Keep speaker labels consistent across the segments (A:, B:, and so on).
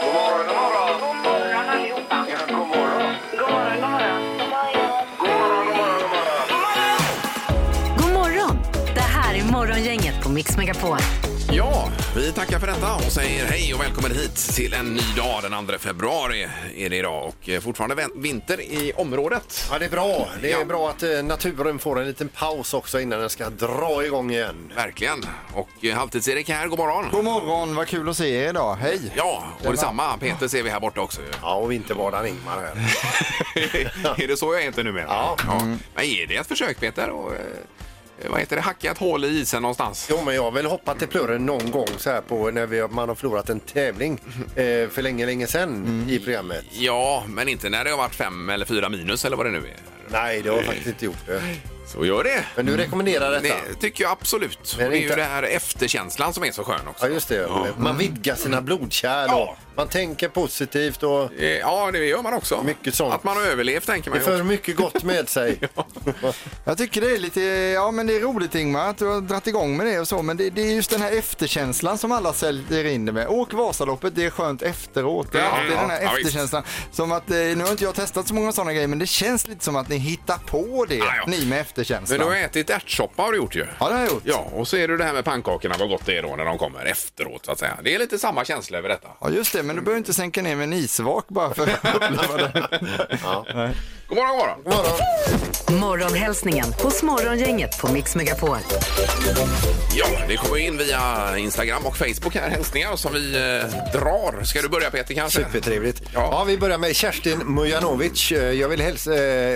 A: God morgon, god morgon. God morgon allihopa. Ja, god morgon. God morgon, god morgon. God morgon, god morgon, god morgon.
B: God morgon! Det här är Morgongänget på Mix Megapol.
C: Ja, vi tackar för detta och säger hej och välkommen hit till en ny dag. Den 2 februari är det idag och eh, fortfarande vä- vinter i området.
D: Ja, det är bra. Det är
C: Ja.
D: bra att eh, naturen får en liten paus också innan den ska dra igång igen.
C: Verkligen. Och eh, Halvtids-Erik här, god morgon.
E: God morgon, vad kul att se er idag. Hej!
C: Ja, och detsamma. Peter ser vi här borta också.
D: Ja, och vintervardagen Ingmar här.
C: är det så jag heter numera?
D: Ja.
E: Mm.
C: Men är det ett försök Peter? Och, eh, vad heter det? Hacka ett hål i isen någonstans?
D: Jo, men jag har väl hoppat till plurren någon gång så här på när vi, har- man har förlorat en tävling eh, för länge, länge sedan
C: Mm.
D: i programmet.
C: Ja, men inte när det har varit fem eller fyra minus eller vad det nu är.
D: Nej, det har jag faktiskt inte gjort det.
C: Så gör det.
D: Men du rekommenderar detta?
C: Det tycker jag absolut.
D: Men
C: Och det är ju
D: inte-
C: det här efterkänslan som är så skön också.
D: Ja, just det. Man vidgar sina blodkärl
C: Ja.
D: och man tänker positivt och
C: Eh, Ja, det gör man också.
D: Mycket sånt.
C: Att man har överlevt tänker man
D: det
C: ju.
D: för
C: också.
D: mycket gott med sig.
E: Jag tycker det är lite, ja men det är roligt Ingmar att du har dragit igång med det och så, men det, det är just den här efterkänslan som alla säljer in det med. Åk Vasaloppet, det är skönt efteråt. Det är
C: Ja,
E: alltid
C: ja,
E: den här
C: ja, visst.
E: efterkänslan. Som att, eh, nu har inte jag testat så många sådana grejer, men det känns lite som att ni hittar på det,
C: Ja, ja.
E: ni med
C: Men
E: efterkänslan.
C: du har ätit ärtsoppa har du gjort ju.
E: Ja, det har jag gjort.
C: Ja, och så är det det här med pannkakorna, vad gott det är då när de kommer efteråt så att säga. Det är lite samma känsla över detta.
E: Ja, just det, men du behöver inte sänka ner med en isvak bara för att uppleva det.
C: God morgon, god morgon.
B: Morgonhälsningen hos Morgongänget på Mix Megapol.
C: Ja, det kommer ju in via Instagram och Facebook här, hälsningar som vi eh, drar. Ska du börja Peter kanske?
D: Supertrevligt.
C: Ja.
D: Ja. vi börjar med Kerstin Mujanovic. Eh, Jag vill häls-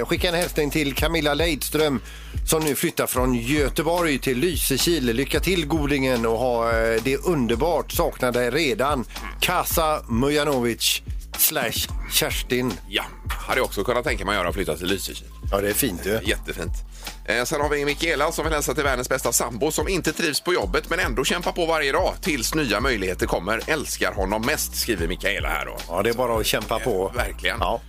D: eh, skicka en hälsning till Camilla Leidström som nu flyttar från Göteborg till Lysekil. Lycka till godingen och ha eh, det underbart. Saknar dig redan. Kasa Mujanovic slash Kerstin.
C: Ja, hade jag också kunnat tänka mig att göra och flytta till Lysekil.
D: Ja, det är fint du.
C: Jättefint. Eh, sen har vi Mikaela som vill hälsa till världens bästa sambo som inte trivs på jobbet men ändå kämpar på varje dag tills nya möjligheter kommer. Älskar honom mest, skriver Mikaela här då.
D: Ja, det är bara att kämpa på.
C: Eh, verkligen.
D: Ja.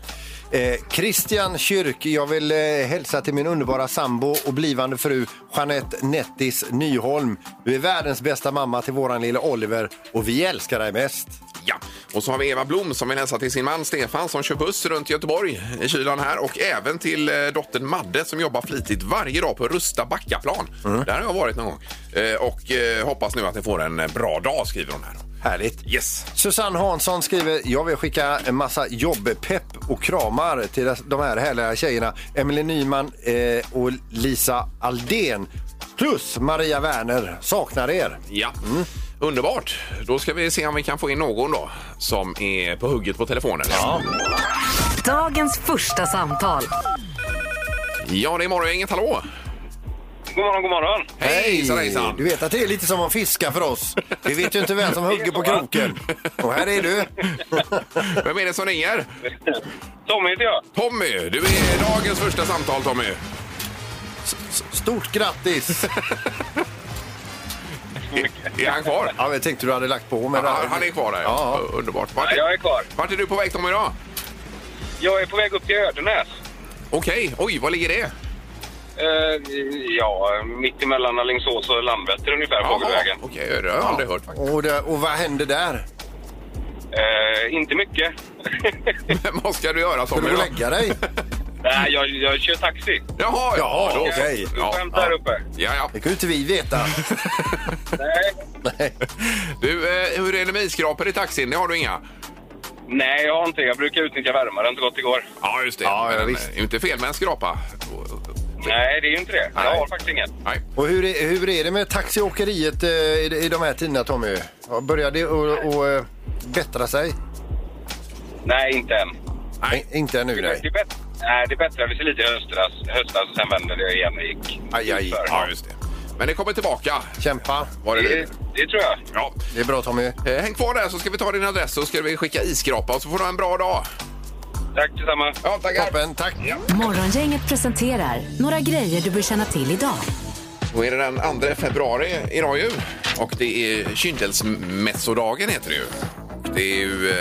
D: Eh, Christian Kyrk, jag vill eh, hälsa till min underbara sambo och blivande fru Jeanette Nettis Nyholm. Du är världens bästa mamma till våran lilla Oliver och vi älskar dig mest.
C: Ja. Och så har vi Eva Blom som vill hälsa till sin man Stefan som kör buss runt Göteborg i kylan här och även till eh, dottern Madde som jobbar flitigt varje dag på Rusta Backaplan. Där har jag varit någon gång. Eh, och eh, hoppas nu att ni får en eh, bra dag, skriver hon här.
D: Härligt.
C: Yes!
D: Susanne Hansson skriver, jag vill skicka en massa jobbpepp och kramar till de här härliga tjejerna. Emelie Nyman eh, och Lisa Aldén. Plus Maria Werner, saknar er.
C: Ja. Mm. Underbart! Då ska vi se om vi kan få in någon då som är på hugget på telefonen. Ja,
B: Dagens första samtal.
C: ja det är Morgongänget. Hallå!
F: God morgon, god morgon.
C: Hej! Hejsan, hejsan!
D: Du vet att det är lite som att fiska för oss. Vi vet ju inte vem som hugger på kroken. Och här är du.
C: Vem är det som ringer?
F: Tommy heter jag.
C: Tommy! Du är dagens första samtal, Tommy.
D: Stort grattis!
C: Är han kvar?
D: Ja, jag tänkte du hade lagt på. Men
C: Han, han är kvar där, ja.
D: Ja.
C: Underbart. Vart
F: Jag
C: är,
F: är kvar.
C: vart är du på väg, Tommy, idag?
F: Jag är på väg upp till Ödenäs.
C: Okej. Oj, var ligger det?
F: Eh, ja, mitt emellan Alingsås och Landvetter ungefär, fågelvägen.
C: Okej, det har jag aldrig hört faktiskt.
D: Och, det, och vad hände där?
F: Eh, inte mycket.
C: Men vad ska du göra,
D: Skulle
C: Tommy?
D: du
C: då?
D: lägga dig?
F: Nej, jag, jag kör taxi.
C: Jaha, ja.
D: Jaha,
C: då så.
D: okej.
C: Ja,
F: Skämt här uppe.
C: ja, ja.
D: Det kan ju inte vi veta.
F: Nej.
D: Nej.
C: Du, eh, hur är det med isskrapor i taxin? Det har du inga?
F: Nej, jag har inte. Jag brukar utnyttja värmaren så gott det går.
C: Ja, just det.
D: Ja, ja,
C: Men,
D: visst.
C: eh, är ju inte fel med en skrapa.
F: Nej, det är ju inte det.
C: Nej.
F: Jag har faktiskt inget.
C: Nej.
D: Och hur är, hur är det med taxiåkeriet eh, i, i de här tiderna, Tommy? Ja, Börjar det att att, eh, bättra sig?
F: Nej, inte än.
C: Nej.
D: Nej, Inte ännu,
F: Det, är
D: nej.
F: bättre. Nej, det bättrade sig lite i höstas, höstas och sen vände det igen och gick
D: Aj, aj.
F: utför.
C: Ja, just det. Men det kommer tillbaka.
D: Kämpa.
C: Var det
F: det,
C: det?
F: det tror jag.
C: Ja.
D: Det är bra, Tommy.
C: Eh, Häng kvar där så ska vi ta din adress och ska vi skicka isskrapa och så får du ha en bra dag.
F: Tack detsamma.
C: Ja, tackar.
D: Toppen, tack.
B: Morgongänget presenterar några grejer du bör känna till idag.
C: Då är det den 2 februari idag ju och det är kyndelsmässodagen heter det ju. Och Det är ju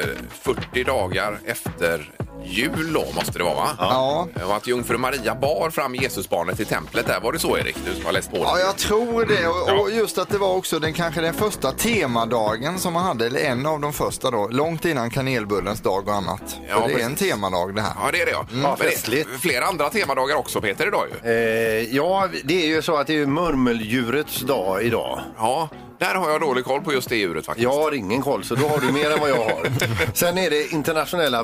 C: eh, 40 dagar efter jul då måste det vara va? Eh,
E: Ja.
C: Och att jungfru Maria bar fram Jesusbarnet till templet där. Var det så Erik? Du som har läst på det.
E: Ja, jag tror det. Och, och just att det var också den kanske den första temadagen som man hade, eller en av de första då, långt innan kanelbullens dag och annat.
C: Ja,
E: För det är
C: precis.
E: en temadag det här.
C: Ja, det är det ja. Men det är
D: Mm, festligt.
C: flera andra temadagar också Peter idag ju.
D: Eh, ja, det är ju så att det är ju murmeldjurets dag idag.
C: Ja, där har jag dålig koll på just det djuret faktiskt.
D: Jag har ingen koll, så då har du mer än vad jag har. Sen är det internationella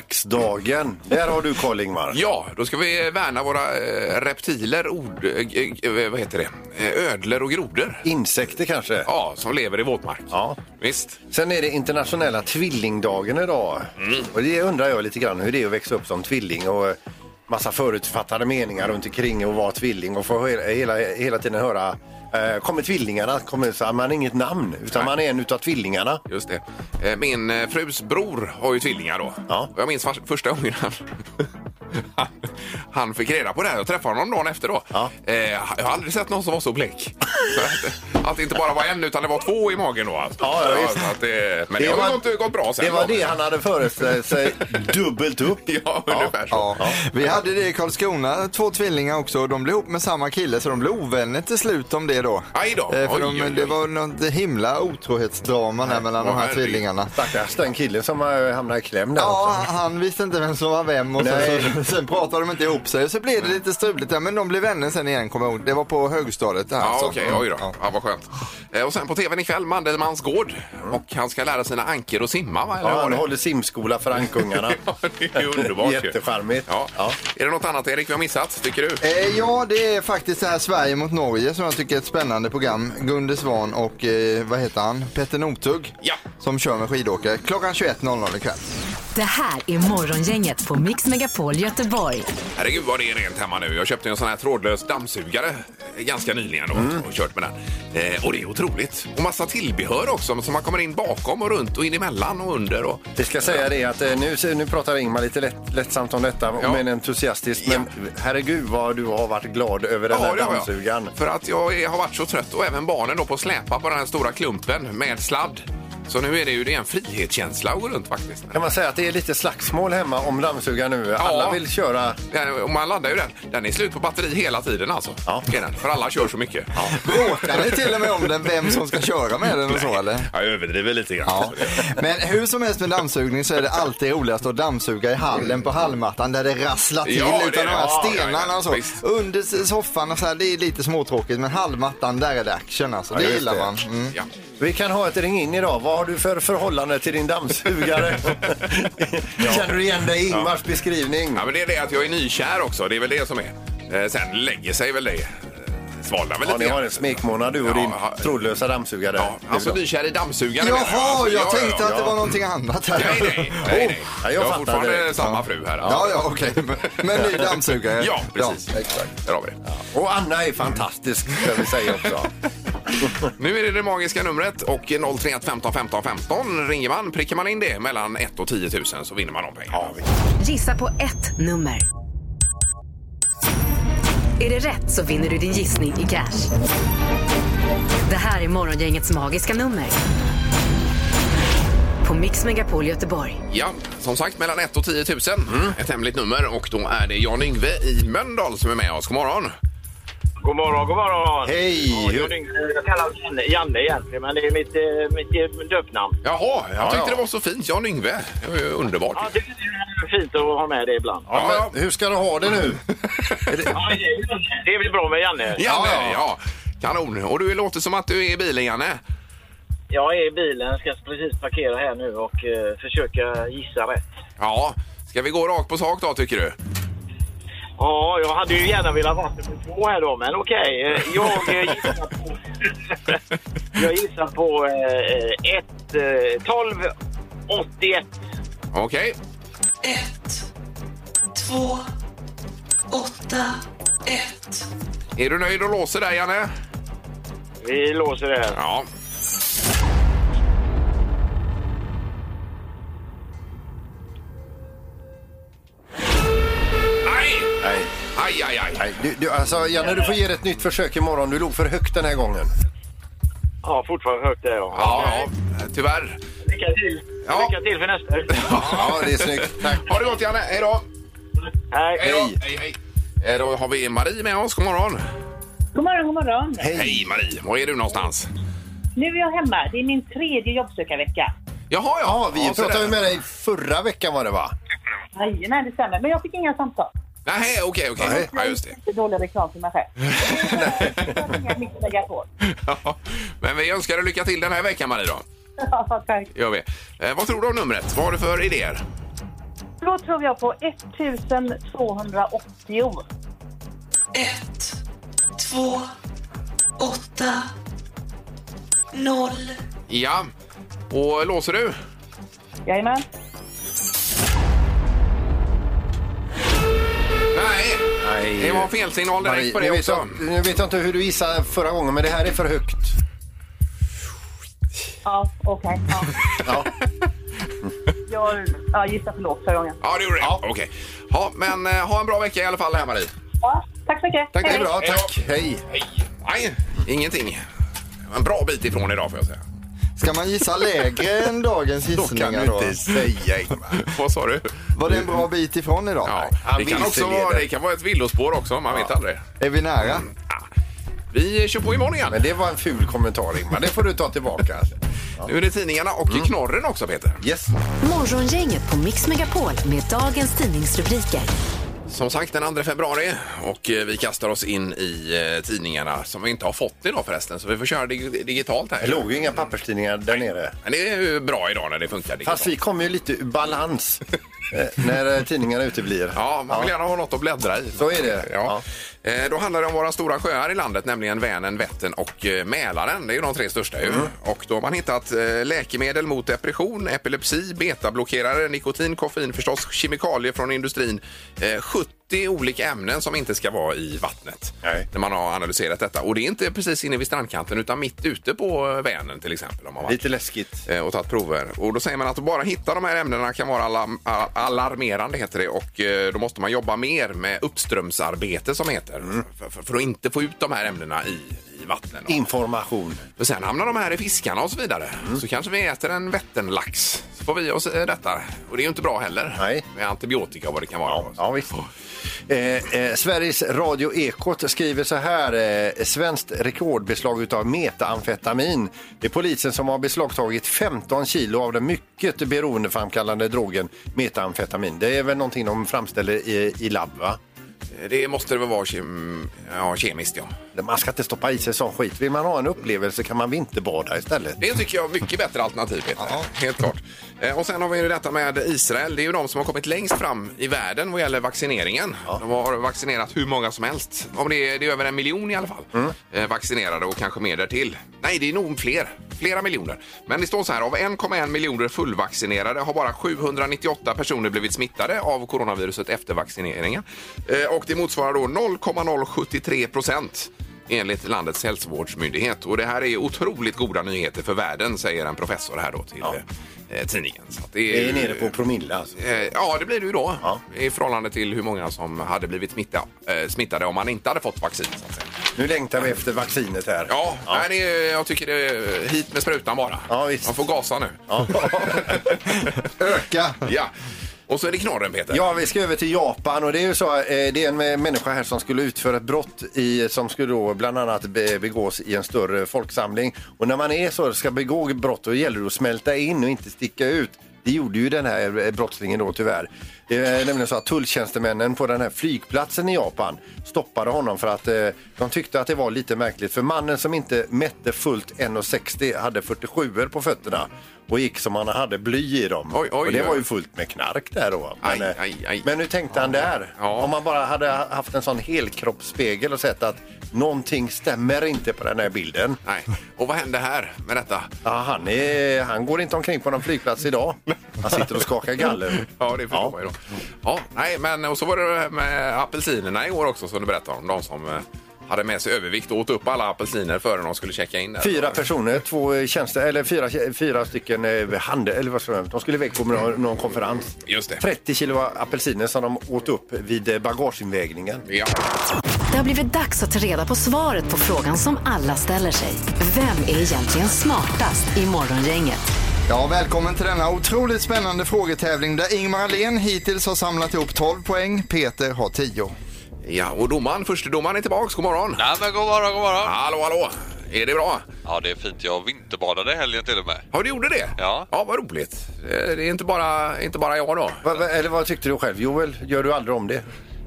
D: våtmarksdagen. Där har du koll, Ingmar.
C: Ja, då ska vi värna våra eh, reptiler, ord, eh, eh, vad heter det? Eh, ödlor och grodor.
D: Insekter kanske.
C: Ja, som lever i våtmark.
D: Ja.
C: Visst.
D: Sen är det internationella tvillingdagen idag.
C: Mm.
D: Och det undrar jag lite grann hur det är att växa upp som tvilling och eh, massa förutfattade meningar runt omkring och vara tvilling och få he- hela, hela tiden höra eh, Kommer tvillingarna? Kommer, så man har inget namn, utan man är en utav tvillingarna.
C: Just det. Eh, Min eh, frus bror har ju tvillingar då.
D: Ja.
C: Och Jag minns fars- första gången han, han, han fick reda på det här. Jag träffade honom dagen efter då.
D: Ja.
C: Eh, Jag har aldrig sett någon som var så blek. Så att, att det inte bara var en utan det var två i magen då. Alltså.
D: Ja, ja, visst.
C: så att det, men det, har
D: var-
C: ju gått, gått bra sen.
D: Det var
C: då.
D: det han hade föreställt sig dubbelt upp.
C: Ja, ungefär så.
E: Ja. Vi hade det i Karlskrona, två tvillingar också. och De blev ihop med samma kille så de blev ovänner till slut om det då.
C: Aj då.
E: Eh,
C: Oj,
E: För de,
C: oj, oj.
E: det var något himla otrohetsdrama där mellan de här
C: herregud.
E: tvillingarna.
D: Stackars den killen som eh, hamnade i kläm där.
E: Ja,
D: också.
E: han visste inte vem som var vem och sen,
D: Nej.
E: så, sen pratade de inte ihop sig. Så blev det lite struligt där, men de blev vänner sen igen kommer jag ihåg. Det var på högstadiet där.
C: Ja,
E: alltså.
C: okej. Oj då.
E: Ja.
C: Ja. vad skönt. Eh, Och sen på tvn ikväll, Mandelmans gård. Och han ska lära sina ankor att simma, va? Eller
D: Ja,
C: vad
D: han
C: det?
D: håller simskola för ankungarna.
C: Ja, det är ju underbart ju.
D: Jättecharmigt.
C: Ja.
D: Ja.
C: Är det något annat, Erik, vi har missat, tycker du?
E: Eh, ja, det är faktiskt det här Sverige mot Norge som jag tycker är ett spännande program. Gunde Svan och eh, vad heter han? Petter Northug.
C: Ja.
E: Som kör med skidåkare klockan 21.00 ikväll.
B: Det här är Morgongänget på Mix Megapol Göteborg.
C: Herregud vad det är rent hemma nu. Jag köpte en sån här trådlös dammsugare eh, ganska nyligen och, och kört med den. Eh, och det är otroligt. Och massa tillbehör också som man kommer in bakom och runt och in emellan och under. Och,
D: Vi ska säga det att eh, nu, nu pratar Ingmar lite lätt, lättsamt om detta,
C: Ja.
D: men entusiastiskt. Men herregud vad du har varit glad över den här
C: det har jag.
D: dammsugaren.
C: För att jag är- har varit så trött och även barnen då på att släpa på den här stora klumpen med sladd. Så nu är det ju det är en frihetskänsla att gå runt faktiskt.
D: Kan man säga att det är lite slagsmål hemma om dammsugaren nu? Alla vill köra.
C: Ja, Och man laddar ju den. Den är slut på batteri hela tiden alltså.
D: Ja.
C: Är den. För alla kör så mycket.
E: Bråkar ni till och med om den, vem som ska köra med den och så eller?
C: Jag överdriver lite grann.
E: Ja. Men hur som helst med dammsugning så är det alltid roligast att dammsuga i hallen på hallmattan där det rasslar till
C: Ja, det är
E: utan de
C: det.
E: här
C: Ja, ja, ja,
E: stenarna och så.
C: visst.
E: Under s- soffan och så här, det är lite småtråkigt men hallmattan där är det action alltså. Det
D: just
E: gillar
D: det.
E: man. Mm.
C: Ja.
D: Vi kan ha ett ring in idag. Vad har du för förhållande till din dammsugare? Känner du igen dig i Ingmars beskrivning?
C: Ja, men det är det att jag är nykär också. Det är väl det som är. Eh, sen lägger sig väl det. Eh, Svalnar väl
D: Ja,
C: lite
D: ni har
C: grann.
D: en smekmånad du och
C: Ja,
D: din
C: ja.
D: trådlösa dammsugare.
C: Ja,
D: Det är
C: alltså
D: bra.
C: nykär i dammsugaren menar
E: Jaha,
C: Alltså,
E: jag
C: ja,
E: tänkte
C: ja,
E: att det
C: ja.
E: var någonting annat här.
C: Nej, nej, nej, nej.
D: Oh, jag
C: jag har
D: fattar
C: fortfarande
D: direkt.
C: samma fru här.
E: Ja, ja, okej. Men ny dammsugare.
C: Ja, precis.
E: Ja, exakt.
C: Där har vi det.
D: Och Anna är fantastisk, ska vi säga också.
C: Nu är det det magiska numret och 031 15 15 15 ringer man. Prickar man in det mellan 1 och 10 000 så vinner man de pengarna.
B: Gissa på ett nummer. Är det rätt så vinner du din gissning i cash. Det här är Morgongängets magiska nummer. På Mix Megapol Göteborg.
C: Ja, som sagt mellan 1 och 10 000.
D: Mm.
C: Ett hemligt nummer och då är det Jan Yngve i Mölndal som är med oss. God morgon!
G: God morgon, god morgon.
D: Hej!
G: Ja, Jag, ringer- jag kallas Janne, Janne egentligen, men det är mitt, eh, mitt eh, döpnamn.
C: Jaha, jag tyckte
D: ja.
C: det var så fint. Jan Yngve. Det var ju underbart.
G: Ja, det är fint att ha med det ibland.
C: Ja,
D: Hur ska du ha det nu?
G: Ja, det är- det är väl bra med Janne.
C: Janne, ja. Kanon. Och du låter som att du är i bilen, Janne.
G: Jag är i bilen, ska precis parkera här nu och eh, försöka gissa rätt.
C: Ja. Ska vi gå rakt på sak då, tycker du?
G: Ja, jag hade ju gärna velat vara nummer två här då, men okej. Eh, Jag eh, gissar på... jag gissar på eh, ett, eh, 12, 81.
C: Okej.
H: 1, 2, 8, 1.
C: Är du nöjd och låser där, Janne?
G: Vi låser det här.
C: Ja. Aj!
D: Nej.
C: Aj, aj, aj.
D: Nej, du, du, alltså, Janne, du får ge det ett nytt försök imorgon. Du låg för högt den här gången.
G: Ja, fortfarande högt där. Ja.
C: Ja, ja, tyvärr.
G: Lycka till!
C: Ja.
G: Lycka till för nästa.
D: Ja, det är snyggt. Tack.
C: Ha det gott, Janne. Hej då!
G: Nej.
C: Hej då! Hej, hej. Eh, Då har vi Marie med oss. God morgon!
I: God morgon, god morgon.
C: Hej Marie! Var är du någonstans?
I: Nu är jag hemma. Det är min tredje jobbsökarvecka.
C: Jaha,
D: Ja,
C: ja.
D: vi
C: ja, så
D: pratade
C: där.
D: ju med dig förra veckan var det va?
I: Jajamän, det stämmer. Men jag fick inga samtal.
C: Nej, okej, okej.
D: Nej.
C: Ja, just det.
I: Lite dålig reklam för mig själv. Jag har inga mitt att lägga på.
C: Ja, Men vi önskar dig lycka till den här veckan, Marie. Då.
I: Ja, tack.
C: Gör vi. Eh, vad tror du om numret? Vad har du för idéer?
I: Då tror jag på 1280.
H: ett, två, åtta, noll.
C: Ja. Och låser du?
I: Jajamän.
C: Nej!
D: Nej.
C: Det var fel signal direkt
D: Marie,
C: på det
D: nu, vet
C: också.
D: jag, nu vet jag inte hur du gissade förra gången, men det här är för högt.
I: Ja, okej. Ja. Jag, jag gissar för lågt förra gången.
C: Ja, det gjorde det. Ja. Okej. Ja, men eh, ha en bra vecka i alla fall här, Marie.
I: Ja, tack så mycket.
D: Tack, det är
I: Hej.
D: bra.
C: Hej.
D: Tack. Hej.
C: Hej. Nej, ingenting. En bra bit ifrån idag får jag säga.
E: Ska man gissa lägre än dagens gissningar då?
D: säga Ingmar.
C: Vad sa du?
E: Var det en bra bit ifrån idag?
C: Ja, det,
D: han
C: kan också
D: vilseleder.
C: vara, det kan vara ett villospår också, man vet aldrig.
E: Är vi nära?
C: Vi kör på imorgon igen.
D: Men det var en ful kommentar Ingmar. Det får du ta tillbaka.
C: Nu är det tidningarna och
D: Mm.
C: knorren också, Peter.
D: Yes.
B: Morgongänget på Mix Megapol med dagens tidningsrubriker.
C: Som sagt, den 2 februari och eh, vi kastar oss in i eh, tidningarna som vi inte har fått idag förresten, så vi får köra dig- digitalt här.
D: Det låg ju inga papperstidningar där nere.
C: Men det är ju bra idag när det funkar digitalt.
D: Fast vi kommer ju lite ur balans eh, när eh, tidningarna uteblir.
C: Ja, man vill gärna ha något att bläddra i.
D: Så är det.
C: Ja. Eh, Då handlar det om våra stora sjöar i landet, nämligen Vänern, Vättern och eh, Mälaren. Det är ju de tre största
D: Mm.
C: ju. Och då har man hittat eh, läkemedel mot depression, epilepsi, betablockerare, nikotin, koffein förstås, kemikalier från industrin. eh, 70 olika ämnen som inte ska vara i vattnet
D: Nej.
C: när man har analyserat detta. Och det är inte precis inne vid strandkanten utan mitt ute på eh, Vänern till exempel. Om man varit
D: Lite läskigt.
C: eh, och tagit prover. Och då säger man att att bara hitta de här ämnena kan vara alarm, a- alarmerande heter det och eh, då måste man jobba mer med uppströmsarbete som heter
D: Mm.
C: för, för, för att inte få ut de här ämnena i, i vattnen.
D: Information.
C: Och sen hamnar de här i fiskarna och så vidare.
D: Mm.
C: Så kanske vi äter en vätternlax. Så får vi oss eh, detta. Och det är ju inte bra heller.
D: Nej.
C: Med antibiotika och vad det kan vara.
D: Ja, visst. Eh, eh, Sveriges Radio Ekot skriver så här. Eh, svenskt rekordbeslag utav metaamfetamin. Det är polisen som har beslagtagit 15 kilo av den mycket beroendeframkallande drogen metaamfetamin. Det är väl någonting de framställer i, i labb, va?
C: Det måste det väl vara kem- ja, kemiskt ja.
D: Man ska inte stoppa i sig sån skit. Vill man ha en upplevelse kan man vinterbada istället.
C: Det tycker jag är mycket bättre alternativ, Peter.
E: Ja.
C: Helt klart. Eh, Och sen har vi ju detta med Israel. Det är ju de som har kommit längst fram i världen vad gäller vaccineringen. De har vaccinerat hur många som helst. Om det, är, det är över en miljon i alla fall eh, vaccinerade och kanske mer därtill. Nej, det är nog fler. Flera miljoner. Men det står så här, av 1,1 miljoner fullvaccinerade har bara 798 personer blivit smittade av coronaviruset efter vaccineringen. Eh, Och det motsvarar då 0,073 procent enligt landets hälsovårdsmyndighet. Och det här är otroligt goda nyheter för världen, säger en professor här då till eh, tidningen. Så att det är,
D: Det är
C: ju-
D: nere på promille alltså.
C: Eh, Ja, det blir det ju då
D: Ja.
C: i förhållande till hur många som hade blivit smitta, eh, smittade om man inte hade fått vaccin. Så att säga.
D: Nu längtar vi efter vaccinet här.
C: Ja, Nej, det är, jag tycker det är hit med sprutan bara.
D: Ja, visst.
C: Man får gasa nu.
D: Ja.
E: Öka!
C: ja. Och så är det knorren, Peter.
D: Ja, vi ska över till Japan och det är ju så, eh, det är en eh, människa här som skulle utföra ett brott i, som skulle då bland annat be- begås i en större folksamling. Och när man är så ska begå brott då gäller det att smälta in och inte sticka ut. Det gjorde ju den här eh, brottslingen då tyvärr. Det är nämligen så att tulltjänstemännen på den här flygplatsen i Japan stoppade honom för att eh, de tyckte att det var lite märkligt för mannen som inte mätte fullt 1,60 hade 47 på fötterna och gick som han hade bly i dem.
C: Oj, oj,
D: och det
C: oj.
D: var ju fullt med knark där då. Men,
C: Aj,
D: eh,
C: aj, aj.
D: men nu tänkte han där.
C: Ja.
D: Om man bara hade haft en sån helkroppsspegel och sett att någonting stämmer inte på den här bilden.
C: Nej. Och vad hände här med detta?
D: Ja, han, är, han går inte omkring på någon flygplats idag. Han sitter och skakar galler.
C: Ja, det förstår man ju då. Ja, nej, men och så var det det här med apelsinerna i år också som du berättade om. De som eh, hade med sig övervikt och åt upp alla apelsiner före de skulle checka in där.
D: Fyra personer, två tjänster, eller fyra, fyra stycken eh, handel, eller vad ska jag, de skulle iväg på någon, någon konferens.
C: Just det.
D: 30 kilo apelsiner som de åt upp vid eh, bagageinvägningen.
C: Ja.
B: Det har blivit dags att ta reda på svaret på frågan som alla ställer sig. Vem är egentligen smartast i Morgongänget?
E: Ja, välkommen till denna otroligt spännande frågetävling där Ingmar Ahlén hittills har samlat ihop 12 poäng, Peter har 10.
C: Ja, och domaren, förste domaren är tillbaks. God morgon!
J: Nej men god morgon, god morgon.
C: Hallå, hallå! Är det bra?
J: Ja det är fint, jag vinterbadade i helgen till och med.
C: Ja, du gjorde det?
J: Ja.
C: Ja, vad roligt. Eh, Det är inte bara, inte bara jag då.
D: Va, va, eller vad tyckte du själv? Joel, gör du aldrig om det?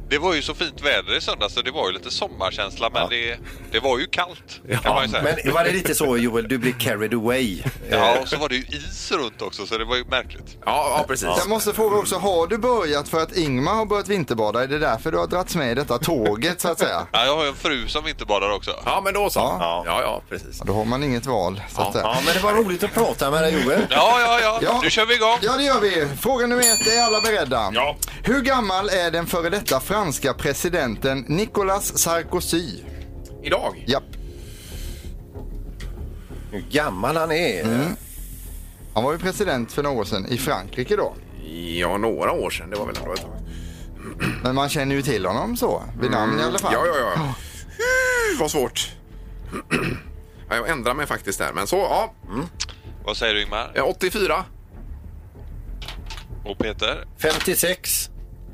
J: Det var ju så fint väder i söndags så det var ju lite sommarkänsla men det, det var ju kallt kan man ju säga.
D: Men var det lite så Joel, du blir carried away?
J: Ja, och så var det ju is runt också så det var ju märkligt.
C: Ja, ja precis.
E: Jag måste fråga också, har du börjat för att Ingmar har börjat vinterbada? Är det därför du har dragits med i detta tåget så att säga?
J: Ja, jag har ju en fru som vinterbadar också.
C: Ja, men då så. Ja,
E: Ja.
C: ja, precis.
E: Ja, Då har man inget val så att säga.
D: Ja, men det var roligt att prata med dig Joel.
J: Ja, ja, ja,
E: Ja.
J: nu kör vi igång.
E: Ja, det gör vi. Fråga nummer ett, är alla beredda?
C: Ja.
E: Hur gammal är den före detta franska presidenten Nicolas Sarkozy?
C: Idag?
E: Japp,
D: Hur gammal han är.
E: han var ju president för några år sedan i Frankrike då.
C: Ja, några år sedan. Det var väl ändå ett tag.
E: Men man känner ju till honom så, vid namn i alla fall.
C: Mm. Ja, ja, ja. Uh, Vad svårt. Ja, jag ändrar mig faktiskt där, men så. Ja.
J: Vad säger du Ingmar?
C: Eh, 84.
J: Och Peter?
D: 56.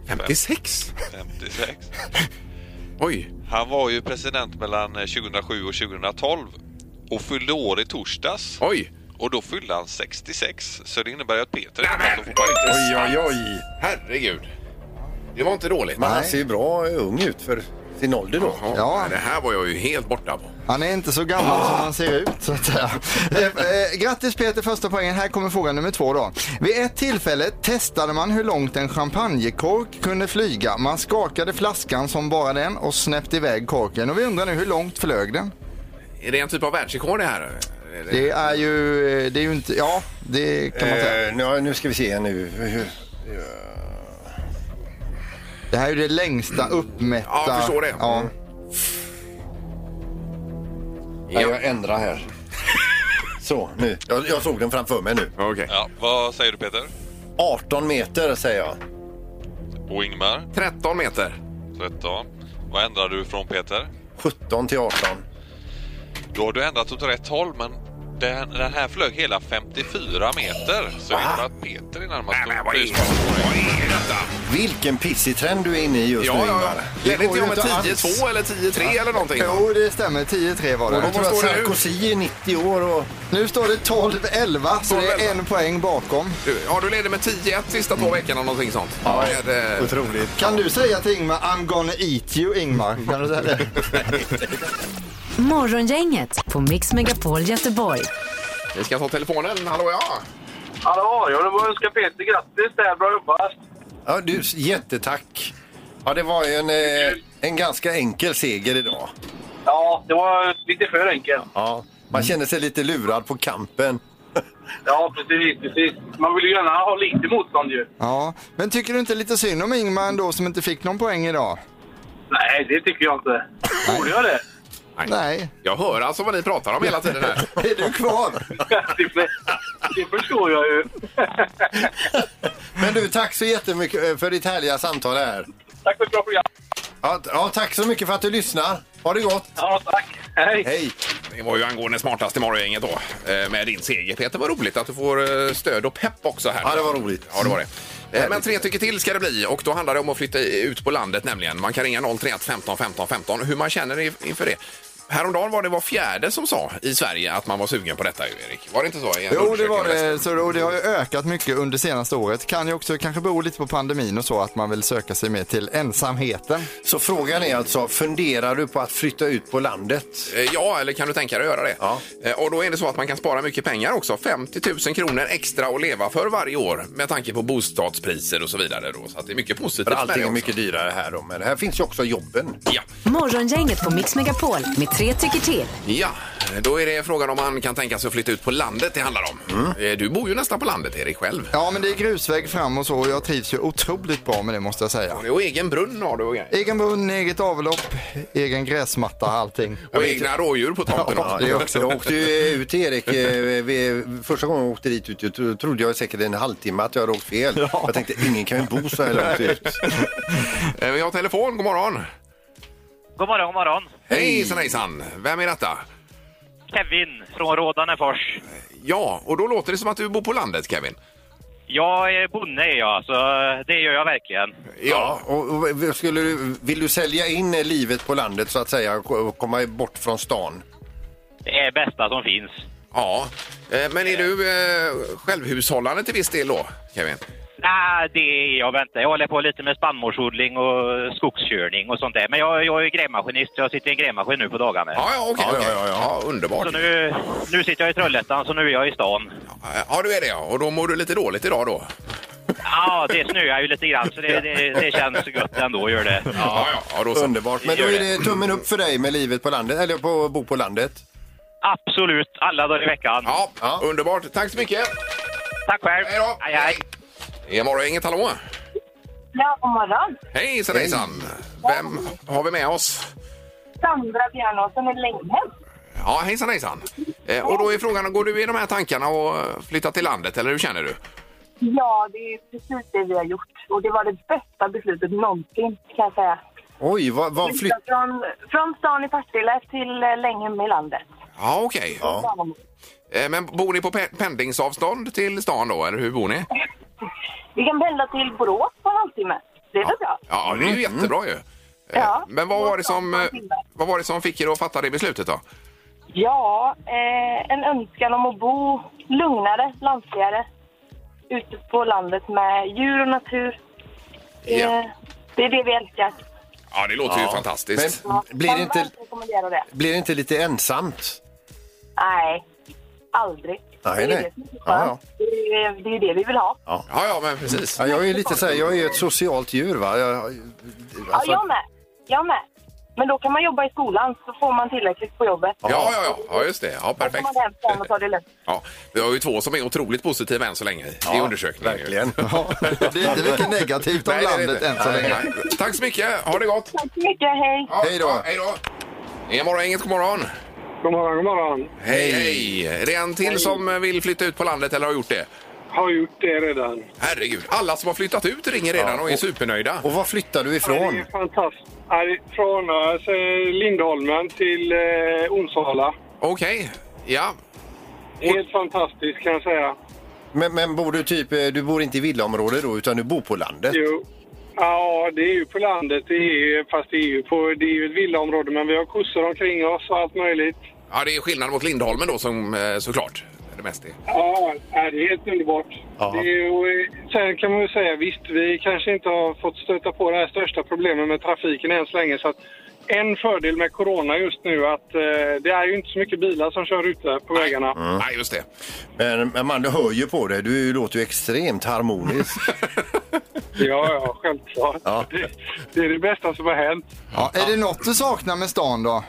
C: 56?
J: 56.
C: Oj.
J: Han var ju president mellan eh, 2007 och 2012 och fyllde år i torsdags.
C: Oj.
J: Och då fyllde han 66, så det innebär ju att Peter
C: Nej, men,
J: är på
D: Oj, oj, oj.
C: Herregud. Det var inte dåligt.
D: Men han ser ju bra ung ut för sin ålder då.
C: Jaha,
E: Ja.
C: nej, Det här var jag ju helt borta på.
E: Han är inte så gammal som han ser ut så att säga. Eh, eh, Grattis Peter, första poängen. Här kommer fråga nummer två då. Vid ett tillfälle testade man hur långt en champagnekork kunde flyga. Man skakade flaskan som bara den och snäppte iväg korken. Och vi undrar nu, hur långt flög den?
C: Är det en typ av världsrekord det här? Är det-
E: Det är ju, eh, det är ju inte, ja det kan man säga.
D: Eh, nu, nu ska vi se nu. Hur-
E: Det här är ju det längsta uppmätta.
C: Ja, jag förstår det.
E: Ja.
C: Mm.
D: Ja. Jag ändrar här. Så, nu. Jag, jag såg den framför mig nu.
C: Okej.
J: Ja, vad säger du Peter?
D: 18 meter säger jag.
J: Och Ingmar?
C: 13 meter.
J: 13. Vad ändrar du från Peter?
D: 17 till 18.
J: Då har du ändrat åt rätt håll, men den, den här flög hela 54 meter. Så det innebär att Peter är närmast
C: Nej, men
J: att
C: vad är,
J: bli
C: vad är detta?
D: Vilken pissig trend du är inne i just nu
C: Ja, ja, ja.
D: Ingmar.
C: Ledde
D: går
C: inte
D: ju
C: jag med
D: alls.
C: 10-2 eller 10-3 eller någonting?
E: Jo, det stämmer. 10-3 var
D: Jag
E: det.
C: Vad
D: tror att
C: står det nu?
D: Sarkozy är 90 år och...
E: Nu står det 12-11, så det
C: 12-11.
E: är en poäng bakom.
C: Du, ja, du ledde med 10-1 sista två veckorna eller någonting sånt. eh, Ja, det,
D: Otroligt.
E: Kan du säga till Ingmar, I'm gonna eat you Ingmar? Kan du säga det?
B: Morgongänget på Mix Megapol Göteborg.
C: vi ska ta telefonen. Hallå, ja.
G: Hallå, jag vill bara önska Peter grattis där. Bra jobbat!
D: Ja, du, jättetack. Ja, det var ju en, eh, en ganska enkel seger idag.
G: Ja, det var lite för enkelt.
D: Ja. Man
C: Mm.
D: känner sig lite lurad på kampen.
G: Ja, precis, precis. Man vill ju gärna ha lite motstånd ju.
E: Ja, men tycker du inte lite synd om Ingmar ändå som inte fick någon poäng idag?
G: Nej, det tycker jag inte. Borde jag det?
E: Nej.
C: Jag hör alltså vad ni pratar om hela tiden här.
E: Är du kvar?
G: Det för- Det förstår jag ju.
D: Men du, tack så jättemycket eh, för ditt härliga samtal här.
G: Tack för ett bra program.
D: Ja, t- ja, tack så mycket för att du lyssnar. Ha det gott.
G: Ja, tack. Hej.
D: Hej.
C: Det var ju angående smartast i morgongänget då eh, med din seger Peter. Vad roligt att du får eh, stöd och pepp också här.
D: Ja, det var roligt.
C: Ja, det var det. Eh, Men tre tycker till ska det bli och då handlar det om att flytta ut på landet nämligen. Man kan ringa 031 15 15 15 hur man känner inf- inför det. Häromdagen var det var fjärde som sa i Sverige att man var sugen på detta, ju, Erik. Var det inte så? i en
E: Jo, det
C: undersökning
E: var
C: jag läste?
E: det. Så, och det har ju ökat mycket under senaste året. Kan ju också kanske bero lite på pandemin och så, att man vill söka sig mer till ensamheten.
D: Så frågan är alltså, funderar du på att flytta ut på landet?
C: Eh, Ja, eller kan du tänka dig att göra det?
D: Ja.
C: Eh, Och då är det så att man kan spara mycket pengar också. 50 000 kronor extra att leva för varje år med tanke på bostadspriser och så vidare. Då. Så att det är mycket positivt
D: För
C: med
D: allting
C: det
D: är
C: också.
D: mycket dyrare här då, men här finns ju också jobben.
C: Ja.
B: Morgongänget på Mix Megapol med tre tycker till.
C: ja, då är det frågan om man kan tänka sig att flytta ut på landet det handlar om. Eh, Du bor ju nästan på landet, Erik, själv.
E: Ja, men det är grusväg fram och så och jag trivs ju otroligt bra med det måste jag säga.
C: Och egen brunn har du och grejer.
E: Egen brunn, eget avlopp, egen gräsmatta, allting.
C: Och egna rådjur på tomten
E: Ja,
C: också.
E: det också.
D: Jag åkte ju ut Erik, eh, vi- första gången jag åkte dit ut jag tro- trodde jag säkert en halvtimme att jag hade åkt fel. Jag tänkte ingen kan ju bo så här långt ut.
C: Eh, Vi har telefon, god morgon.
G: God morgon, god morgon.
C: Hejsan hejsan, vem är detta?
G: Kevin från Rådanefors.
C: Ja, och då låter det som att du bor på landet, Kevin.
K: Jag är bonde är jag, så det gör jag verkligen.
D: Ja, och, och skulle du, vill du sälja in livet på landet så att säga och komma bort från stan?
K: Det är bästa som finns.
C: Ja, eh, men är du eh, självhushållande till viss del då, Kevin?
K: Nej, det är jag väntar. Jag håller på lite med spannmålsodling och skogskörning och sånt där. Men jag, jag är grävmaskinist, så jag sitter i en grävmaskin nu på dagarna.
C: Ja, ja, okej. okej. ja, underbart.
K: Så nu, nu sitter jag i Trollhättan, så nu är jag i stan.
C: Ja, du är det ja. Och då mår du lite dåligt idag då?
K: Ja, det snöar ju lite grann, så det, det, det känns gött ändå, gör det.
C: Ja, ja, ja då så.
D: Underbart. Men då
K: Gör
D: är
K: det.
D: det tummen upp för dig med livet på landet, eller på bo på landet.
K: Absolut, alla dagar i veckan.
C: Ja, underbart. Tack så mycket.
K: Tack själv.
C: Hej då.
K: Hej, hej.
C: Det är morgongänget, hallå!
I: Ja, god morgon.
C: Hejsan hejsan! Vem har vi med oss?
I: Sandra Bjärnåsen är länge.
C: Ja, hejsan hejsan! Eh, och då är frågan, går du i de här tankarna och eh, flyttar till landet eller hur känner du?
I: Ja, det är precis det vi har gjort. Och det var det bästa beslutet någonsin, kan jag säga.
D: Oj, vad, vad flytt...
I: Flytta från, från stan i Partille till eh, Länghem i landet.
C: Ja, okej. Eh, men bor ni på pe- pendlingsavstånd till stan då, eller hur bor ni?
I: Vi kan pendla till Borås på en halvtimme. Det är väl bra?
C: Ja, det är ju
D: Mm.
C: jättebra ju. Eh,
I: Ja.
C: Men vad var, det som, eh, vad var det som fick er att fatta det beslutet då?
I: Ja, eh, en önskan om att bo lugnare, lantligare. Ute på landet med djur och natur. Eh,
C: Ja.
I: Det är det vi älskar.
C: Ja, det låter ju fantastiskt.
D: Men Mm, blir
I: Kan
D: det inte,
I: verkligen rekommendera det.
D: blir det inte lite ensamt?
I: Nej, aldrig.
D: Nej,
I: det
D: nej.
I: är det som är så
D: Ja,
I: skönt. Det är det är ju det vi vill ha.
C: Ja, ja men precis.
D: Ja, jag är lite så här, jag är ett socialt djur va. Jag, alltså-
I: Ja, jag med. Jag med. Men då kan man jobba i skolan, så får man tillräckligt på jobbet.
C: Ja, ja, ja, ja just det. Ja,
I: Då får
C: perfekt.
I: man hem sen och ta det lugnt.
C: Ja, vi har ju två som är otroligt positiva än så länge i
D: Ja,
C: undersökningen. ju.
D: verkligen.
E: Det är inte mycket negativt om
C: Nej, det är det
E: landet
C: inte.
E: än så
C: Nej,
E: länge.
C: nej. Tack så mycket. Ha det gott.
I: Tack så mycket, hej!
C: Ja,
D: Hej då.
C: ja, Hej då. Det är morgongänget. God morgon.
F: God morgon, god morgon.
C: Hej. hej. Är det en till som vill flytta ut på landet eller har gjort det?
F: Har gjort det redan.
C: Herregud, alla som har flyttat ut ringer redan
D: Ja,
C: och är
D: och-
C: supernöjda.
D: Och var flyttar du
F: Ja,
D: ifrån?
F: Det är fantastiskt. Ja, det är Från alltså, Lindholmen till eh, Onsala.
C: Okej. Ja.
F: Helt fantastiskt kan jag säga.
D: Men, men bor du typ, eh, du bor inte i villaområde då utan du bor på landet?
F: Jo. Ja, det är ju på landet, det är ju, fast det är ju, på, det är ju ett villaområde men vi har kossor omkring oss och allt möjligt.
C: ja, det är skillnad mot Lindholmen då som eh, såklart är det mest är.
F: Ja, ja, det är helt underbart.
D: Ja.
F: Det är, och, eh, sen kan man ju säga, visst vi kanske inte har fått stöta på det här största problemet med trafiken än så länge så att en fördel med corona just nu är att eh, det är ju inte så mycket bilar som kör ute på vägarna.
C: Nej, just det.
D: Men, men man, du hör ju på dig, du låter ju extremt harmonisk.
F: Ja, ja, självklart.
D: Ja.
F: Det, det är det bästa som har hänt.
E: Ja, är det något du saknar med stan då?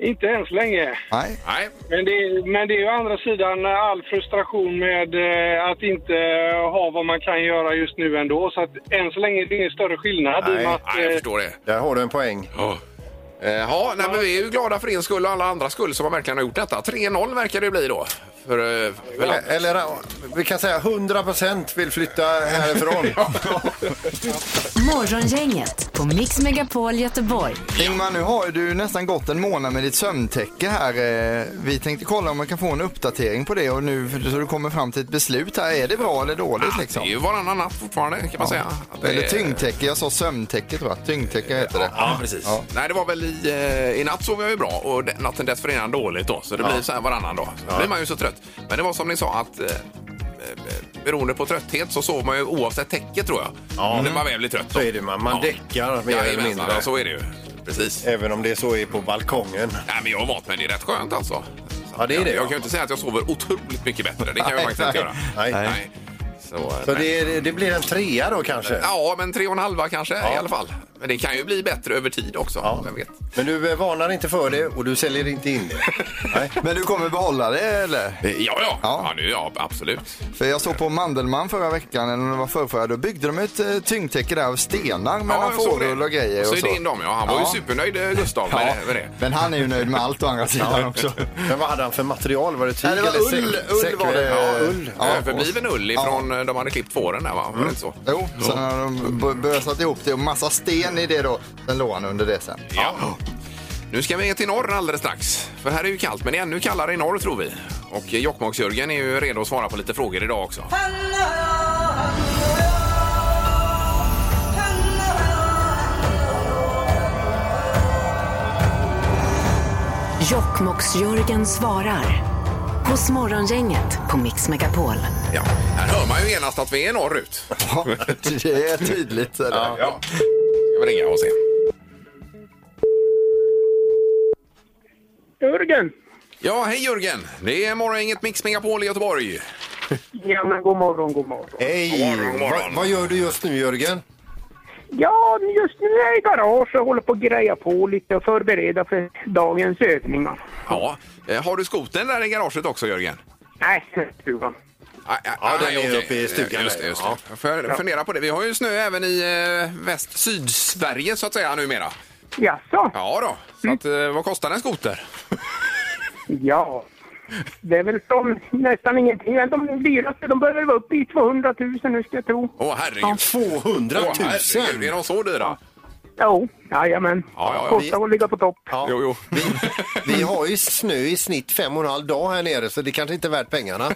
F: Inte än så länge.
E: Nej.
C: Nej.
F: Men det, är- men det är ju å andra sidan all frustration med eh, att inte ha vad man kan göra just nu ändå. Så att än så länge är det ingen större skillnad. i och med
D: Nej,
F: att,
C: Nej, jag
F: eh,
C: förstår det.
D: Där har du en poäng.
C: Ja. Eh, Ja, nej, men vi är ju glada för din skull och alla andra skull som har verkligen har gjort detta. 3-0 verkar det bli då. För, eh, för landet.
D: Eller eh, vi kan säga 100% vill flytta härifrån.
B: Morgongänget på Mix Megapol Göteborg.
E: Ingmar, nu har du nästan gått en månad med ditt sömntäcke här. Eh, Vi tänkte kolla om man kan få en uppdatering på det och nu så du kommer fram till ett beslut här. Är det bra eller dåligt
C: Det är
E: liksom?
C: ju varannan natt fortfarande kan man säga. Att det
E: Eller
C: är-
E: tyngdtäcke, jag sa sömntäcke tror jag. Tyngdtäcke heter det.
C: Ja, precis. Nej, det var väl i, eh, i natt sov jag ju bra och de- natten dessförinnan dåligt då. Så det blir så här varannan dag. Så blir man ju så trött. Men det var som ni sa att eh, eh, beroende på trötthet så sov man ju oavsett täcke tror jag. När man väl blir trött.
D: Mm. Så är det, man, man däckar mer eller
C: Jajamensan, alltså.
D: mindre. Eh.
C: ja, så är det ju. Precis.
D: Även om det så är på balkongen.
C: Nej, men jag har vant mig. Det är rätt skönt alltså. Så
D: Ja, det är
C: jag-
D: det,
C: Jag
D: ja.
C: kan ju inte säga att jag sover otroligt mycket bättre. Det kan jag
D: Nej,
C: faktiskt inte
D: nej.
C: göra.
D: Nej.
C: Så, eh,
D: Så
C: nej.
D: det, det blir en trea då kanske?
C: Ja, men tre och en halva kanske i alla fall. Men det kan ju bli bättre över tid också.
D: Ja.
C: Vem vet.
D: Men du eh, varnar inte för det och du säljer inte in det? Nej.
E: Men du kommer behålla det eller?
C: Eh, Ja, ja.
E: Ja.
C: ja. nu, ja absolut.
E: För jag såg på Mandelmann förra veckan, eller om det var förrförra, då byggde de ett eh, tyngdtäcke där av stenar mellan
C: jag såg det.
E: fårull och grejer.
C: Och
E: Och
C: så är det in dem, ja. Han var ju supernöjd, eh, Gustav,
E: Ja,
C: med, med det.
E: Men han är ju nöjd med allt å andra sidan också.
D: Men vad hade han för material? Var det tyg
E: Nej, det var
D: eller säck?
E: ull, ull
D: säck-
E: var det.
D: Ja, ull.
E: Ja, Mm.
C: Ja, Förbliven ull ifrån eh, de hade klippt fåren där, va? Var det inte så?
E: Jo, sen har de b- bösat ihop det och massa sten i det då. Sen låg han under det sen.
C: Ja. Nu ska vi till norr alldeles strax. För här är ju kallt, men det är ännu kallare i norr tror vi. Och Jokkmokks-Jörgen är ju redo att svara på lite frågor idag också.
B: Jokkmokks-Jörgen svarar. Hos Morgongänget på Mix Megapol.
C: Ja, här hör man ju genast att vi är norrut. Ja,
E: det är tydligt.
C: Ja. ja. Ska vi ringa och se.
L: Jörgen!
C: Ja, hej Jörgen! Det är Morgongänget Mix Megapol i Göteborg.
L: Ja, men god morgon, god morgon.
D: Hej! Va, vad gör du just nu Jörgen?
L: Ja, men just nu är jag i garage och håller på att greja på lite och förbereda för dagens övningar.
C: Ja, eh, har du skoten där i garaget också Jörgen? Ah,
L: Nej, stugan.
C: Ja,
D: den är uppe i stugan
C: eh, Just det,
D: där.
C: just det. Jag får fundera på det. Vi har ju snö även i eh, väst, Sydsverige så att säga numera.
L: Jaså?
C: Ja då. Så att,
L: Mm.
C: eh, vad kostar en skoter?
L: Ja. Det är väl som nästan ingenting. Men de dyraste, de börjar vara uppe i 200 000 nu ska jag tro.
C: Åh herregud.
D: 200
C: Åh, herregud, är de så dyra?
L: Jo, jajamän.
C: Ja, ja, ja.
L: Kostar att ligga på topp. Mm.
C: Jo, jo.
D: Vi har ju snö i snitt fem och en halv dag här nere så det kanske inte är värt pengarna.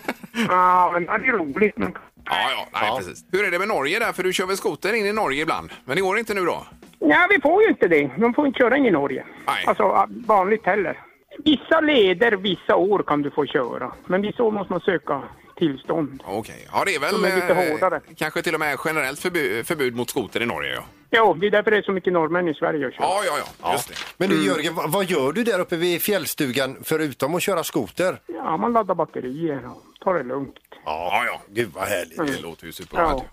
L: Ja, men det är roligt. Men...
C: Ja, ja, nej, precis. Hur är det med Norge där? För du kör väl skoter in i Norge ibland? Men det går inte nu då?
L: Nej, vi får ju inte det. De får inte köra in i Norge.
C: Nej.
L: Alltså vanligt heller. Vissa leder, vissa år kan du få köra. Men vissa år måste man söka tillstånd.
C: Okej. Ja, det är väl
L: De är lite
C: eh,
L: hårdare.
C: kanske till och med generellt förbu- förbud mot skoter i Norge. Ja,
L: Jo, det är därför det är så mycket norrmän i Sverige och kör.
C: ja, ja. ja. Just det.
D: Men
E: Mm.
D: du Jörgen, vad, vad gör du där uppe vid fjällstugan förutom att köra skoter?
L: Ja, man laddar batterier och tar det lugnt.
C: Ja, ja.
D: Gud vad härligt.
C: Det låter ju superbra.
L: Mm. Ja.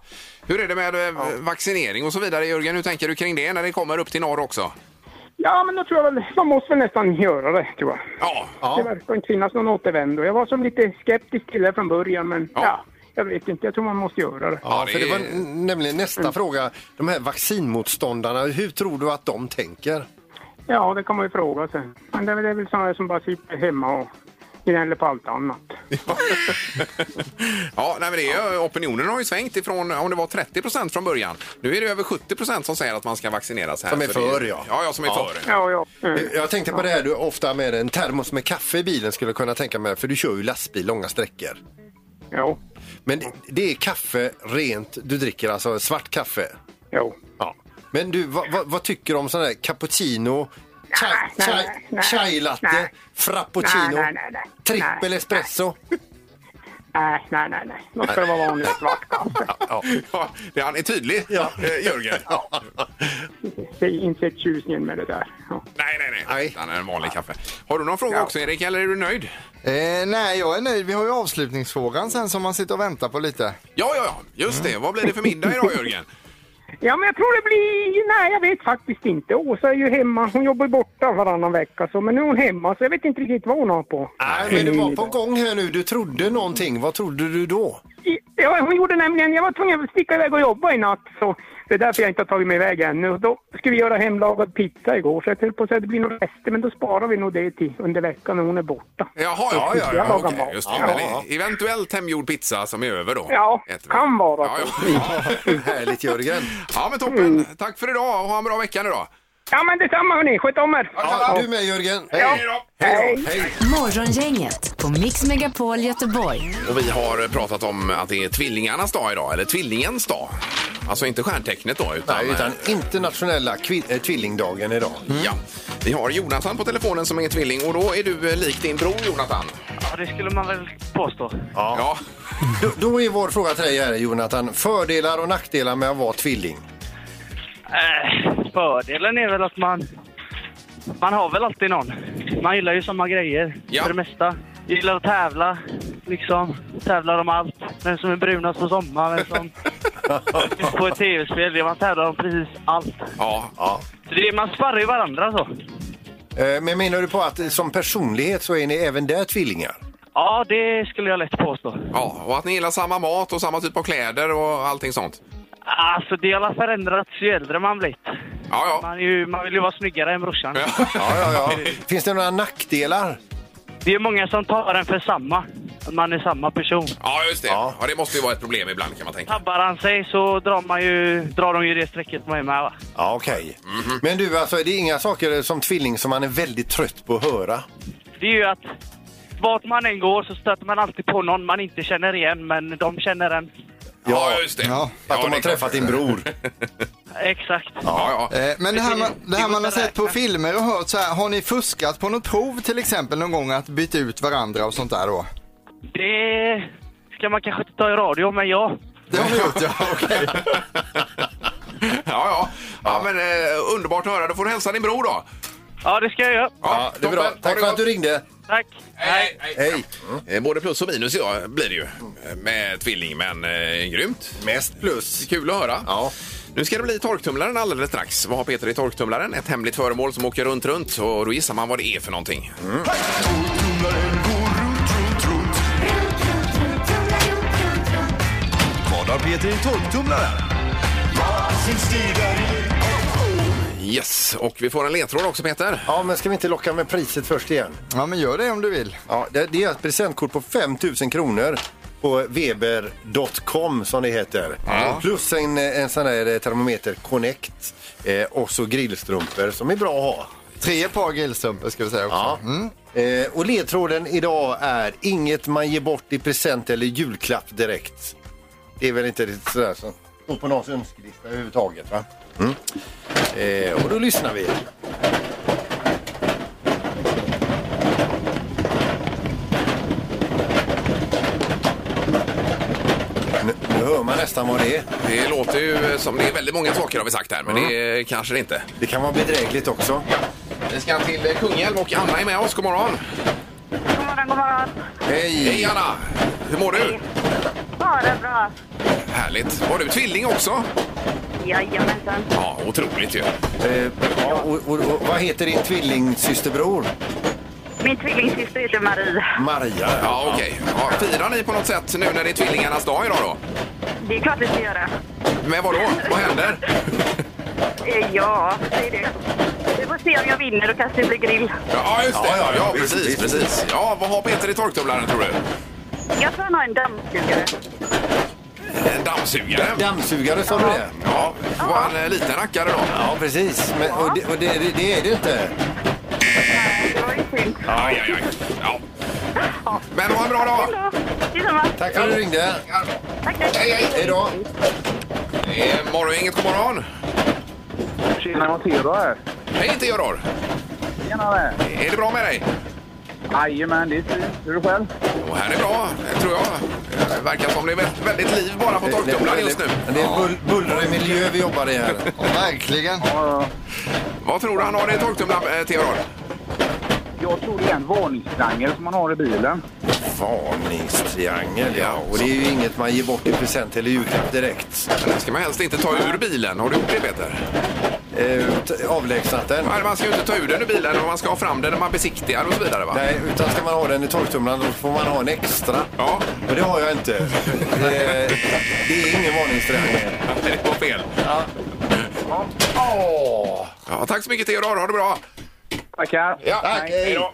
C: Hur är det med eh, vaccinering och så vidare, Jörgen? Hur tänker du kring det när det kommer upp till norr också?
L: Ja, men då tror jag väl, man måste väl nästan göra det, tror jag.
C: Ja.
L: Det verkar inte finnas någon återvändo. Jag var som lite skeptisk till det från början, men ja. jag vet inte. Jag tror man måste göra det.
D: Ja,
C: det
D: för det var
C: är-
D: n- nämligen nästa fråga. De här vaccinmotståndarna, hur tror du att de tänker?
L: Ja, det kan man ju fråga sig. Men det är väl- det är väl sådana som bara sitter hemma och gnäller på allt annat.
C: Ja, nej, men det är, ju- opinionen har ju svängt ifrån om det var 30 procent från början. Nu är det över 70 procent som säger att man ska vaccineras här.
D: Som är
C: Så det
D: för, ja.
C: Ja, ja, som är för.
L: Ja, ja. Mm.
D: Jag tänkte på det här du ofta med en termos med kaffe i bilen skulle jag kunna tänka mig, för du kör ju lastbil långa sträckor.
L: Jo,
D: Men det- det är kaffe rent du dricker, alltså svart kaffe.
L: jo.
D: Ja. Men du, vad, vad, vad tycker du om sån här cappuccino,
L: Nej,
D: chai,
L: nej,
D: chai,
L: nej,
D: chai latte,
L: nej.
D: frappuccino,
L: Nej, nej, nej, nej.
D: trippel
L: Nej.
D: espresso?
L: Nej, nej, nej, nej. Då ska det vara vanligt svart kaffe.
D: Ja.
C: Ja, det- han är tydlig,
D: Ja.
C: eh, Jörgen.
L: Det är inte tjusningen med det där. Ja.
C: Nej, nej, nej.
D: Nej.
C: Utan en vanlig kaffe. Har du någon fråga också, Erik, eller är du nöjd?
E: Eh, nej, jag är nöjd. Vi har ju avslutningsfrågan sen som man sitter och väntar på lite.
C: Ja, ja, ja. Just
D: Mm.
C: det. Vad blir det för middag idag, Jörgen?
L: ja, men jag tror det blir... Nej, jag vet faktiskt inte. Åsa är ju hemma. Hon jobbar ju borta varannan vecka, så, men nu är hon hemma så jag vet inte riktigt vad hon har på.
D: Nej, men du var på gång här nu. Du trodde någonting. Vad trodde du då?
L: Ja, hon gjorde nämligen... Jag var tvungen att sticka iväg och jobba i natt, så det är därför jag inte har tagit mig iväg ännu. Och Då skulle vi göra hemlagad pizza igår, så jag höll på att säga att det blir nog rester, men då sparar vi nog det till under veckan när hon är borta.
C: Jaha, ja, ja,
L: Jag
C: ja,
L: lagar
C: okej,
L: mat.
C: just
L: Ja.
C: det. Men e- eventuellt hemgjord pizza som är över då?
L: Ja,
C: Äter vi.
L: kan vara
C: Ja,
L: så. Mm.
C: ja.
D: Härligt Jörgen.
C: ja, men toppen. Tack för idag och ha en bra vecka nu då.
L: Ja, men detsamma hörni. Sköt om er.
D: Ja, du med Jörgen.
C: Hej då!
L: Hej.
B: Morgongänget på Mix Megapol Göteborg.
C: Och vi har pratat om att det är tvillingarnas dag idag, eller tvillingens dag. Alltså inte stjärntecknet då, utan...
D: Nej, utan internationella kvin- eh, tvillingdagen idag.
C: eh, Ja. Vi har Jonathan på telefonen som är tvilling och då är du eh, lik din bror Jonathan.
G: Ja, det skulle man väl påstå.
C: Ja.
D: Då, då är vår fråga till dig här Jonathan. Fördelar och nackdelar med att vara tvilling?
G: Eh,
M: Äh,
G: fördelen är väl att man... Man har väl alltid någon. Man gillar ju samma grejer
C: Ja.
G: för det mesta. Jag gillar att tävla, liksom. Tävlar om allt. Vem som är brunast på sommaren, vem som... på ett tv-spel. Det- Man tävlar om precis allt.
C: Ja. ja.
G: Så det, man sparrar ju varandra så.
D: Eh, Men menar du på att eh, som personlighet så är ni även där tvillingar?
G: Ja, det skulle jag lätt påstå.
C: Ja, och att ni gillar samma mat och samma typ av kläder och allting sånt.
G: Alltså, det har alla förändrats ju äldre man blivit.
C: Ja, ja.
G: Man, är ju, man vill ju vara snyggare än brorsan.
D: Ja, ja, ja. Finns det några nackdelar?
G: Det är många som tar en för samma.
M: man är samma person.
C: Ja, just det. Ja. det måste ju vara ett problem ibland kan man tänka.
M: Tabbar han sig så drar, man ju, drar de ju det strecket på mig med. Va?
D: Ja, okej.
C: Mhm.
D: Men du, alltså, det är inga saker som tvilling som man är väldigt trött på att höra.
M: Det är ju att vart man än går så stöter man alltid på någon man inte känner igen, men de känner en.
C: Ja, just det.
D: Att de har träffat din bror.
M: Exakt.
C: Ja,
E: ja. Eh, Men det här, man- det här man har sett på filmer och hört så här, har ni fuskat på något prov till exempel någon gång att byta ut varandra och sånt där då?
M: Det ska man kanske inte ta i radio, men ja.
E: Det har vi gjort, ja.
C: Ja, ja. ja men eh, underbart att höra. Då får du hälsa din bror då.
M: Ja, det ska jag göra.
C: Ja,
D: det är bra. Tack för att du ringde.
M: Tack.
C: Hej. hej. Eh, Både plus och minus ja, blir det ju eh, med tvilling, men eh, grymt. Mest plus. Kul att höra. Ja. Nu ska det bli torktumlaren alldeles strax. Vad har Peter i torktumlaren? Ett hemligt föremål som åker runt, runt och då gissar man vad det är för någonting.
N: Vad har Peter i torktumlaren?
C: Yes, och vi får en ledtråd också Peter.
D: Ja, men ska vi inte locka med priset först igen?
E: Ja, men gör det om du vill.
D: Ja, det, det är ett presentkort på 5 000 kronor på weber.com som det heter.
E: Ja.
D: Plus en, en sån här termometer Connect eh, och så grillstrumpor som är bra att ha.
E: Tre par grillstrumpor ska vi säga också.
D: Ja. Eh, och ledtråden idag är inget man ger bort i present eller julklapp direkt. Det är väl inte riktigt sådär som står på någons önskelista överhuvudtaget va? Eh, och då lyssnar vi. Nu, nu hör man nästan vad det är.
C: Det låter ju som det är väldigt många saker har vi sagt här, men
D: Mm.
C: det är kanske det inte.
D: Det kan vara bedrägligt också.
C: Vi ska till eh, Kungälv och Anna är med oss. God morgon!
I: God morgon, god morgon.
D: Hej!
C: Hej Anna! Hur mår du?
I: Bara bra.
C: Härligt. Var du tvilling också?
I: Jajamensan.
C: Ja, otroligt ju.
D: Eh, ja, och, och, och, vad heter din tvillingsysterbror?
I: Min tvillingsyster heter Marie.
D: Maria.
C: Ja, okej. Ja, firar ni på något sätt nu när det är tvillingarnas dag idag då?
I: Det är klart vi ska göra.
C: Men vadå? Vad händer?
I: Eh, Ja, det är det. Vi får se om jag vinner, då kanske det blir grill.
C: Ja, just det. Ja, precis, precis. Ja, vad har Peter i torktumlaren tror du?
I: Jag tror han har en dammsugare.
C: En dammsugare?
D: Dammsugare sa du det?
C: Ja, var han en liten rackare då?
D: Ja, precis. Men, och det, och det, det, det är det inte.
C: Aj, aj, aj. Ja. Men ha en bra dag!
D: Tack för att du ringde.
I: Tack, tack.
D: Hej, hej. Hej då.
C: Det är Eh, Morgongänget, god morgon!
O: Tjena, Montero här.
C: Hej, inte Theodor!
O: Tjenare!
C: Är det bra med dig?
O: Jajamän, det är fint. Hur är du själv?
C: Och här är bra, tror jag. Det verkar som det är vä- väldigt liv bara på torktumlaren just nu.
D: Det är bull, bullrig miljö vi jobbar i här.
E: Verkligen.
C: Vad tror du han har i torktumlaren, eh, Theodor?
O: Jag tror det är en varningstriangel som man har i bilen.
D: Varningstriangel, ja. Och det är ju inget man ger bort i present eller julklapp direkt.
C: Den ska man helst inte ta ur bilen. Har du gjort det, Peter?
D: Eh, t- avlägsnat den.
C: Nej, man ska ju inte ta ur den ur bilen och man ska ha fram den när man besiktigar och så vidare, va?
D: Nej, utan ska man ha den i torktumlaren då får man ha en extra.
C: Ja.
D: Och det har jag inte. Eh, det är ingen varningstriangel.
C: Det var fel.
D: Ja. Åh.
C: Ja, tack så mycket, Theodor. Ha det bra!
O: Tackar!
C: Ja,
O: Tack.
C: Hej då!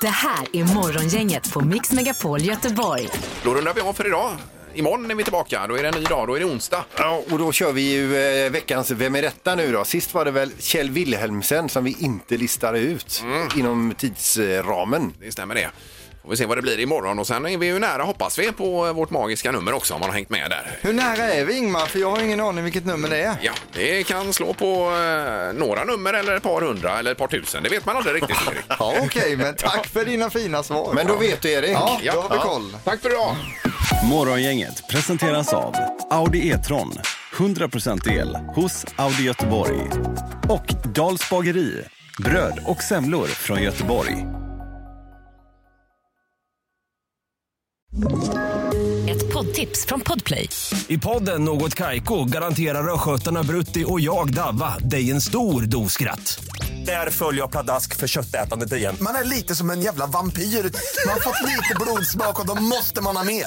B: Det här är Morgongänget på Mix Megapol Göteborg.
C: Då rundar vi av för idag. Imorgon är vi tillbaka. Då är det en ny dag. Då är det onsdag.
D: Ja, och då kör vi ju eh, veckans Vem är detta nu då? Sist var det väl Kjell Wilhelmsen som vi inte listade ut inom tidsramen.
C: Det stämmer det. Får vi se vad det blir imorgon. Och sen är vi ju nära, hoppas vi, på eh, vårt magiska nummer också om man har hängt med där.
E: Hur nära är vi Ingmar? För jag har ingen aning vilket nummer det är.
C: Ja, det kan slå på eh, några nummer eller ett par hundra eller ett par tusen. Det vet man aldrig riktigt. Erik.
E: Ja, okej, men tack för dina fina svar.
D: Men då vet du Erik.
E: Ja, då har vi koll.
C: Tack för idag!
N: Morgongänget presenteras av Audi E-tron. 100% el hos Audi Göteborg. Och Dals bageri. Bröd och semlor från Göteborg.
P: Ett poddtips från Podplay.
Q: I podden Något Kaiko garanterar östgötarna Brutti och jag, Davva, dig en stor dos skratt. Där följer jag pladask för köttätandet igen.
R: Man är lite som en jävla vampyr. Man har fått lite blodsmak och då måste man ha mer.